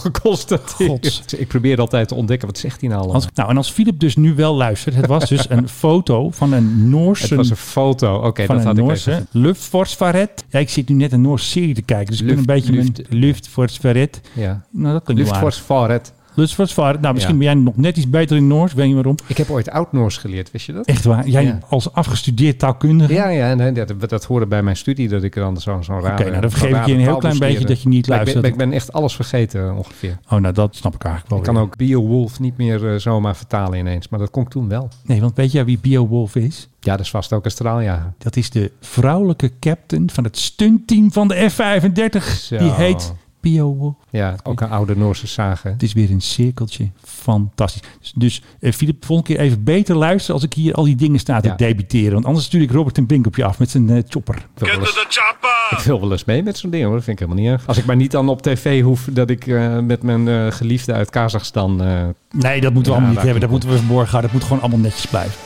Speaker 2: geconstateerd.
Speaker 1: Gods.
Speaker 2: Ik probeer altijd te ontdekken, wat zegt hij nou allemaal?
Speaker 1: Als- nou, en als Philip dus nu wel luistert, het was
Speaker 2: <laughs>
Speaker 1: dus een foto van een
Speaker 2: Het
Speaker 1: Noorse.
Speaker 2: was een foto. Oké,
Speaker 1: van
Speaker 2: dat
Speaker 1: een
Speaker 2: had ik
Speaker 1: Noorse
Speaker 2: even.
Speaker 1: Luftforsvaret. Ja, ik zit nu net een Noorse serie te kijken, dus ik ben een
Speaker 2: Luft-
Speaker 1: beetje
Speaker 2: Luft-
Speaker 1: mijn Luftforsvaret.
Speaker 2: Ja.
Speaker 1: Nou, dat klinkt wel aardig.
Speaker 2: Luftforce Varet.
Speaker 1: Luftforsvaret. Nou, misschien
Speaker 2: Ja.
Speaker 1: ben jij nog net iets beter in Noors, weet je waarom?
Speaker 2: Ik heb ooit oud-Noors geleerd, wist je dat?
Speaker 1: Echt waar. Jij
Speaker 2: Ja.
Speaker 1: als afgestudeerd taalkundige.
Speaker 2: Ja, ja en dat, dat hoorde bij mijn studie dat ik dan zo'n zo raar.
Speaker 1: nou, dan vergeef ik je een heel klein beetje dat je niet
Speaker 2: Ik
Speaker 1: luistert.
Speaker 2: ben, echt alles vergeten ongeveer.
Speaker 1: Oh, nou, dat snap ik eigenlijk wel.
Speaker 2: Ik kan
Speaker 1: weer.
Speaker 2: ook Beowulf niet meer eh, zomaar vertalen ineens, maar dat kon ik toen wel.
Speaker 1: Nee, want weet jij wie Beowulf is?
Speaker 2: Ja, dat is vast ook een straaljager.
Speaker 1: Dat is de vrouwelijke captain van het stuntteam van de F-35.
Speaker 2: Zo.
Speaker 1: Die heet Beowulf.
Speaker 2: Ja, ook een oude Noorse sage.
Speaker 1: Het is weer een cirkeltje. Fantastisch. Dus, dus eh, Filip, volgende keer even beter luisteren als ik hier al die dingen sta te
Speaker 2: Ja.
Speaker 1: debiteren. Want anders stuur ik Robert en Brink op je af met zijn eh, chopper.
Speaker 2: Ik wil wel eens- <laughs> Ik wil wel eens mee met zo'n ding hoor, dat vind ik helemaal niet erg. Als ik maar niet dan op tv hoef dat ik eh, met mijn eh, geliefde uit Kazachstan... eh,
Speaker 1: Nee, dat moeten we
Speaker 2: Ja,
Speaker 1: allemaal niet
Speaker 2: daar
Speaker 1: hebben. Dat
Speaker 2: komt
Speaker 1: moeten we verborgen houden. Dat moet gewoon allemaal netjes blijven.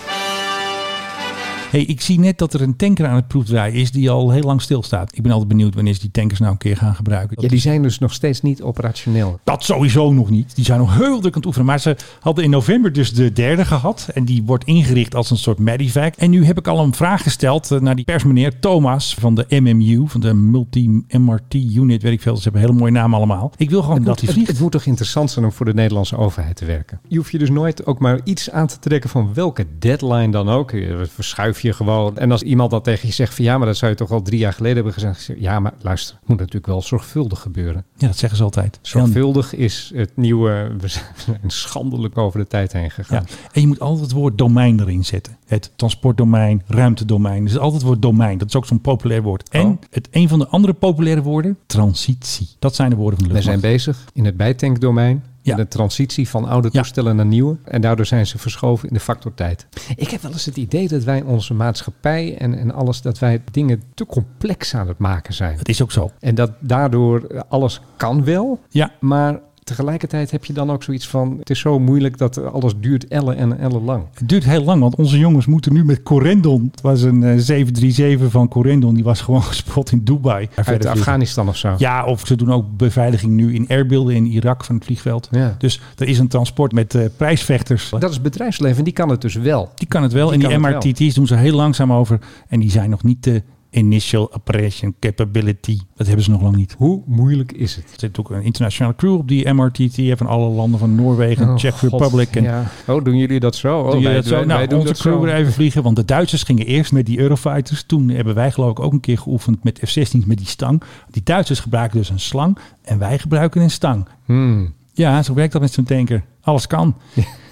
Speaker 1: Hey, ik zie net dat er een tanker aan het proefdraaien is die al heel lang stilstaat. Ik ben altijd benieuwd wanneer ze die tankers nou een keer gaan gebruiken.
Speaker 2: ja, die zijn dus nog steeds niet operationeel.
Speaker 1: Dat sowieso nog niet. Die zijn nog heel druk aan het oefenen. Maar ze hadden in november dus de derde gehad. En die wordt ingericht als een soort medevac. En nu heb ik al een vraag gesteld eh, naar die persmeneer Thomas van de MMU. Van de Multi-MRT-unit, weet ik veel. Ze hebben een hele mooie namen allemaal. Ik wil gewoon dat hij
Speaker 2: het,
Speaker 1: vliegt.
Speaker 2: het moet toch interessant zijn om voor de Nederlandse overheid te werken. Je hoeft je dus nooit ook maar iets aan te trekken van welke deadline dan ook. Je- Dat verschuif je gewoon. En als iemand dan tegen je zegt van ja, maar dat zou je toch al drie jaar geleden hebben gezegd. Ik zeg, Ja, maar luister, het moet natuurlijk wel zorgvuldig gebeuren.
Speaker 1: Ja, dat zeggen ze altijd.
Speaker 2: Zorgvuldig is het nieuwe, we zijn schandelijk over de tijd heen
Speaker 1: Ja.
Speaker 2: gegaan.
Speaker 1: En je moet altijd het woord domein erin zetten. Het transportdomein, ruimtedomein. Dus altijd het woord domein. Dat is ook zo'n populair woord. En
Speaker 2: Oh.
Speaker 1: het een van de andere populaire woorden, transitie. Dat zijn de woorden van de
Speaker 2: We
Speaker 1: luchtmacht.
Speaker 2: zijn bezig in het bijtankdomein.
Speaker 1: Ja.
Speaker 2: Ja. De transitie van oude
Speaker 1: Ja.
Speaker 2: toestellen naar nieuwe. En daardoor zijn ze verschoven in de factor tijd. Ik heb wel eens het idee dat wij onze maatschappij en, en alles, dat wij dingen te complex aan het maken zijn.
Speaker 1: Dat is ook zo.
Speaker 2: En dat daardoor alles kan wel,
Speaker 1: Ja,
Speaker 2: maar tegelijkertijd heb je dan ook zoiets van: het is zo moeilijk dat alles duurt ellen en ellen lang.
Speaker 1: Het duurt heel lang, want onze jongens moeten nu met Corendon. Het was een eh, 737 van Corendon, die was gewoon <laughs> gespot in Dubai.
Speaker 2: Uit
Speaker 1: Verder
Speaker 2: Afghanistan of zo.
Speaker 1: vliegen. Ja, of ze doen ook beveiliging nu in airbeelden in Irak van het vliegveld.
Speaker 2: Ja.
Speaker 1: Dus er is een transport met eh, prijsvechters.
Speaker 2: Dat is het bedrijfsleven, en die kan het dus wel.
Speaker 1: die kan het wel.
Speaker 2: die
Speaker 1: en die
Speaker 2: kan het wel.
Speaker 1: MRTT's doen ze heel langzaam over. En die zijn nog niet de initial operation capability. Dat hebben ze nog lang niet.
Speaker 2: Hoe moeilijk is het?
Speaker 1: Er zit ook een internationale crew op die MRTT van alle landen van Noorwegen,
Speaker 2: Oh,
Speaker 1: Czech
Speaker 2: God,
Speaker 1: Republic en
Speaker 2: ja. Oh, doen jullie dat zo? Oh,
Speaker 1: Doe je
Speaker 2: wij-
Speaker 1: dat zo?
Speaker 2: wij-
Speaker 1: nou,
Speaker 2: wij doen
Speaker 1: onze
Speaker 2: dat
Speaker 1: crew
Speaker 2: zo.
Speaker 1: er even vliegen. Want de Duitsers gingen eerst met die Eurofighters. Toen hebben wij geloof ik ook een keer geoefend met F-16's met die stang. Die Duitsers gebruiken dus een slang en wij gebruiken een stang.
Speaker 2: Hmm.
Speaker 1: Ja, zo werkt dat met zo'n tanker. Alles kan.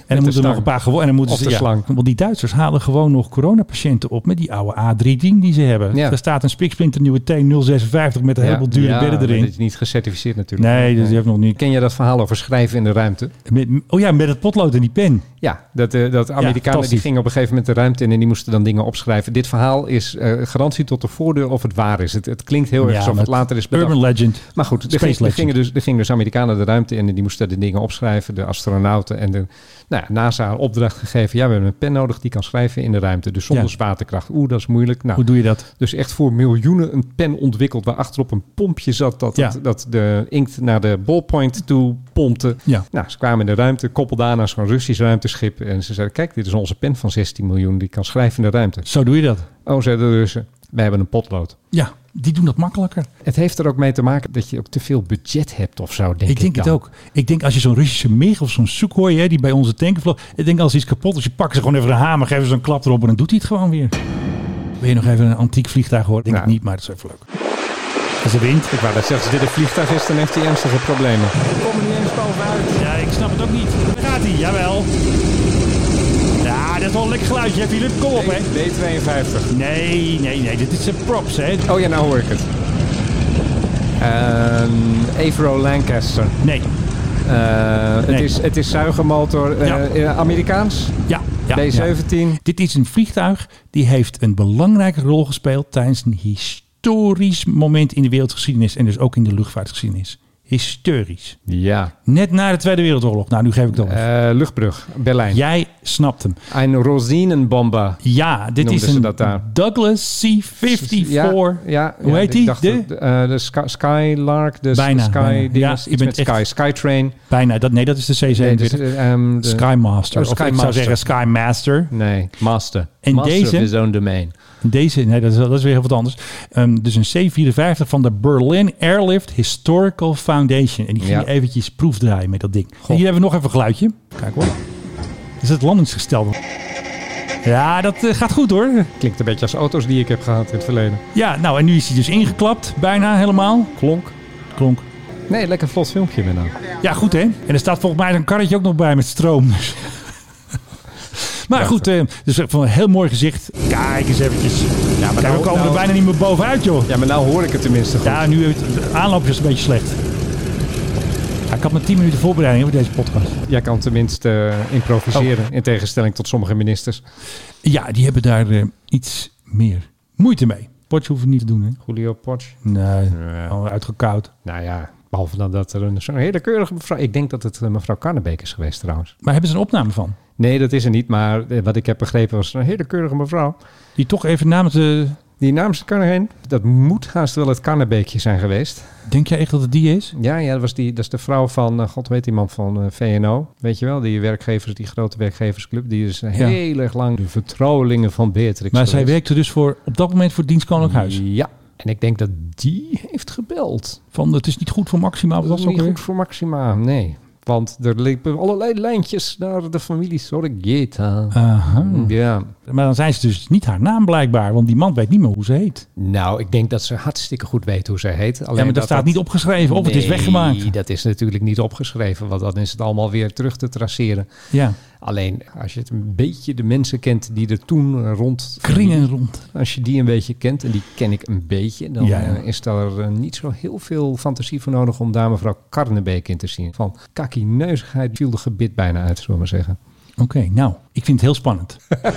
Speaker 1: En
Speaker 2: de
Speaker 1: dan moeten er
Speaker 2: stang.
Speaker 1: nog een paar gewoon. En dan moeten
Speaker 2: Of
Speaker 1: ze
Speaker 2: de
Speaker 1: ja,
Speaker 2: slang.
Speaker 1: Want die Duitsers halen gewoon nog coronapatiënten op met die oude A310 die ze hebben.
Speaker 2: Ja.
Speaker 1: Er staat een spiksplinter nieuwe T056 met een heleboel dure
Speaker 2: ja,
Speaker 1: bedden
Speaker 2: maar
Speaker 1: erin. dus
Speaker 2: dit is niet gecertificeerd natuurlijk.
Speaker 1: Nee, dat heeft nog niet.
Speaker 2: Ken je dat verhaal over schrijven in de ruimte?
Speaker 1: Met- oh ja, met het potlood en die pen.
Speaker 2: Ja, dat, eh, dat Amerikanen die
Speaker 1: fantastisch.
Speaker 2: gingen op een gegeven moment de ruimte in en die moesten dan dingen opschrijven. Dit verhaal is eh, garantie tot de voordeur of het waar is. Het, het klinkt heel erg
Speaker 1: Ja,
Speaker 2: alsof
Speaker 1: maar
Speaker 2: het later is bedacht.
Speaker 1: Urban legend.
Speaker 2: Maar goed, er,
Speaker 1: Space
Speaker 2: ging- er
Speaker 1: Legend.
Speaker 2: gingen dus, er gingen dus Amerikanen de ruimte in en die moesten de dingen opschrijven. De astronauten en de nou ja, NASA een opdracht gegeven. Ja, we hebben een pen nodig die kan schrijven in de ruimte. Dus zonder
Speaker 1: Ja.
Speaker 2: zwaartekracht. Oeh, dat is moeilijk. Nou,
Speaker 1: Hoe doe je dat?
Speaker 2: dus echt voor miljoenen een pen ontwikkeld waar achterop een pompje zat dat,
Speaker 1: Ja.
Speaker 2: dat, dat de inkt naar de ballpoint toe pompte.
Speaker 1: Ja.
Speaker 2: Nou, ze kwamen in de ruimte, koppelden aan aan zo'n Russisch ruimteschip en ze zeiden, kijk, dit is onze pen van 16 miljoen, die kan schrijven in de ruimte.
Speaker 1: Zo doe je dat.
Speaker 2: Oh, zeiden de Russen, wij hebben een potlood.
Speaker 1: Ja, die doen dat makkelijker.
Speaker 2: Het heeft er ook mee te maken dat je ook te veel budget hebt of zo, denk ik
Speaker 1: ik denk het
Speaker 2: dan.
Speaker 1: ook. Ik denk als je zo'n Russische MIG of zo'n Sukhoi, hè, die bij onze tanken vloog. Ik denk als iets kapot is, je pakt ze gewoon even een hamer, geven ze een klap erop en dan doet hij het gewoon weer. Wil je nog even een antiek vliegtuig horen? Denk
Speaker 2: Nou.
Speaker 1: ik niet, maar dat is even leuk. Als de wind.
Speaker 2: Ik wou dat zeggen, als dit een vliegtuig is, dan heeft hij ernstige problemen.
Speaker 1: Ja, ik snap het ook niet. Daar gaat hij, jawel. Ja, dat is wel een lekker geluidje. Heb jullie het? Kom op, hè?
Speaker 2: B-52.
Speaker 1: Nee, nee, nee. Dit is een props, hè?
Speaker 2: Oh ja, nou hoor ik het. Ehm Avro Lancaster.
Speaker 1: Nee.
Speaker 2: Eh, het,
Speaker 1: Nee.
Speaker 2: is, het is zuigermotor, eh,
Speaker 1: Ja.
Speaker 2: eh, Amerikaans,
Speaker 1: Ja, ja. ja.
Speaker 2: B-17.
Speaker 1: Dit is een vliegtuig die heeft een belangrijke rol gespeeld tijdens een historisch moment in de wereldgeschiedenis en dus ook in de luchtvaartgeschiedenis. Historisch.
Speaker 2: Ja.
Speaker 1: Net na de Tweede Wereldoorlog. Nou, nu geef ik het al.
Speaker 2: Eh, luchtbrug, Berlijn.
Speaker 1: Jij snapt hem.
Speaker 2: Een Rosinenbomber.
Speaker 1: Ja, dit
Speaker 2: Noemden
Speaker 1: is
Speaker 2: ze
Speaker 1: een
Speaker 2: dat daar?
Speaker 1: Douglas C-54.
Speaker 2: Ja, ja,
Speaker 1: Hoe
Speaker 2: ja,
Speaker 1: heet
Speaker 2: ik
Speaker 1: die?
Speaker 2: dacht
Speaker 1: De?
Speaker 2: dat- eh, de Sky- Skylark, de s-
Speaker 1: Bijna,
Speaker 2: Sky,
Speaker 1: bijna.
Speaker 2: die
Speaker 1: Ja,
Speaker 2: was
Speaker 1: je
Speaker 2: iets
Speaker 1: bent
Speaker 2: met
Speaker 1: echt-
Speaker 2: Sky, Skytrain.
Speaker 1: Bijna. Dat, nee, dat is de C-47.
Speaker 2: Nee, dus, eh, ehm, de-
Speaker 1: Skymaster.
Speaker 2: Oh,
Speaker 1: of ik zou
Speaker 2: Skymaster.
Speaker 1: zeggen Skymaster.
Speaker 2: Nee, Master.
Speaker 1: En
Speaker 2: master
Speaker 1: deze?
Speaker 2: of his own domain.
Speaker 1: Deze, nee, dat is, dat is weer heel wat anders. Ehm, dus een C-54 van de Berlin Airlift Historical Foundation. En die ging
Speaker 2: Ja.
Speaker 1: eventjes proefdraaien met dat ding. En hier hebben we nog even een geluidje. Kijk hoor. Dat is het landingsgestel. Ja, dat eh, gaat goed hoor.
Speaker 2: Klinkt een beetje als auto's die ik heb gehad in het verleden.
Speaker 1: Ja, nou en nu is hij dus ingeklapt. Bijna helemaal.
Speaker 2: Klonk.
Speaker 1: Klonk.
Speaker 2: Nee, lekker vlot filmpje weer nou.
Speaker 1: Ja, goed hè. En er staat volgens mij een karretje ook nog bij met stroom. Dus. <laughs> maar goed, eh, dus van een heel mooi gezicht. Kijk eens eventjes. Ja, maar
Speaker 2: nou-
Speaker 1: we komen
Speaker 2: nou-
Speaker 1: er bijna niet meer bovenuit joh.
Speaker 2: Ja, maar nou hoor ik het tenminste goed.
Speaker 1: Ja, nu het de aanloop is een beetje slecht. Ja, ik had maar 10 minuten voorbereiding hè, voor deze podcast.
Speaker 2: Jij kan tenminste eh, improviseren,
Speaker 1: Oh.
Speaker 2: in tegenstelling tot sommige ministers.
Speaker 1: Ja, die hebben daar eh, iets meer moeite mee. Potje hoeven we niet te doen, hè?
Speaker 2: Julio Potsch.
Speaker 1: Nee, al uitgekoud.
Speaker 2: Nou ja, behalve dan dat er een zo'n hele keurige mevrouw... Ik denk dat het eh, mevrouw Karnebeek is geweest trouwens.
Speaker 1: Maar hebben ze een opname van?
Speaker 2: Nee, dat is er niet. Maar eh, wat ik heb begrepen was een hele keurige mevrouw.
Speaker 1: Die toch even namens de...
Speaker 2: Die namens Karneheen, dat moet haast wel het Karnebeekje zijn geweest.
Speaker 1: Denk jij echt dat het die is?
Speaker 2: Ja, ja dat, was die, dat is de vrouw van, eh, god weet die man van eh, VNO. Weet je wel, die werkgevers, die grote werkgeversclub. Die is heel erg lang de vertrouwelingen van Beatrix
Speaker 1: Maar zij
Speaker 2: geweest.
Speaker 1: werkte dus voor, op dat moment voor het Dienst Koninklijk Huis.
Speaker 2: Ja, en ik denk dat die heeft gebeld.
Speaker 1: Van, het is niet goed voor Maxima. Wat
Speaker 2: Dat
Speaker 1: was
Speaker 2: was
Speaker 1: dat
Speaker 2: niet
Speaker 1: ook
Speaker 2: goed
Speaker 1: weer?
Speaker 2: voor Maxima, nee. Want er liepen allerlei lijntjes naar de familie
Speaker 1: Ah.
Speaker 2: Sorgeta.
Speaker 1: Aha.
Speaker 2: Ja.
Speaker 1: Maar dan zijn ze dus niet haar naam blijkbaar. Want die man weet niet meer hoe ze heet.
Speaker 2: Nou, ik denk dat ze hartstikke goed weet hoe ze heet. Alleen
Speaker 1: Ja, maar dat staat niet opgeschreven. Of het is weggemaakt.
Speaker 2: Nee, dat is natuurlijk niet opgeschreven. Want dan is het allemaal weer terug te traceren.
Speaker 1: Ja,
Speaker 2: Alleen als je het een beetje de mensen kent die er toen rond...
Speaker 1: kringen rond.
Speaker 2: Als je die een beetje kent, en die ken ik een beetje... dan
Speaker 1: Ja, ja.
Speaker 2: eh, is daar eh, niet zo heel veel fantasie voor nodig... om daar mevrouw Karnebeek in te zien. Van kakkineuzigheid viel de gebit bijna uit, zullen we maar zeggen.
Speaker 1: Oké, nou, ik vind het heel spannend. <laughs>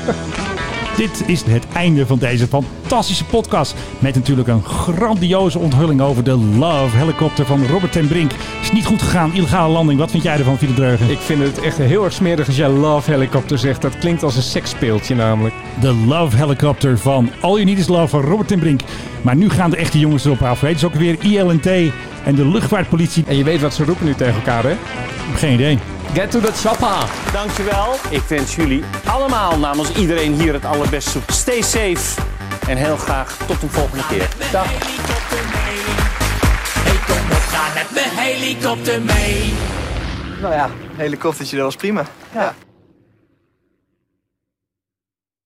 Speaker 1: Dit is het einde van deze fantastische podcast. Met natuurlijk een grandioze onthulling over de Love Helicopter van Robert ten Brink. Is niet goed gegaan, illegale landing. Wat vind jij ervan, Philip Dreugen?
Speaker 2: Ik vind het echt heel erg smerig als jij Love Helicopter zegt. Dat klinkt als een seksspeeltje namelijk.
Speaker 1: De Love Helicopter van All You Need Is Love van Robert ten Brink. Maar nu gaan de echte jongens erop af. Het is ook weer ILNT en de luchtvaartpolitie.
Speaker 2: En je weet wat ze roepen nu tegen elkaar, hè?
Speaker 1: Geen idee.
Speaker 2: Get to the chopper!
Speaker 3: Dankjewel. Ik wens jullie allemaal namens iedereen hier het allerbeste. Stay safe en heel graag tot een volgende keer. Dag.
Speaker 7: helikopter mee. Ik kom op, ga met mijn helikopter mee.
Speaker 5: Nou ja, helikoptertje, dat was prima. ja.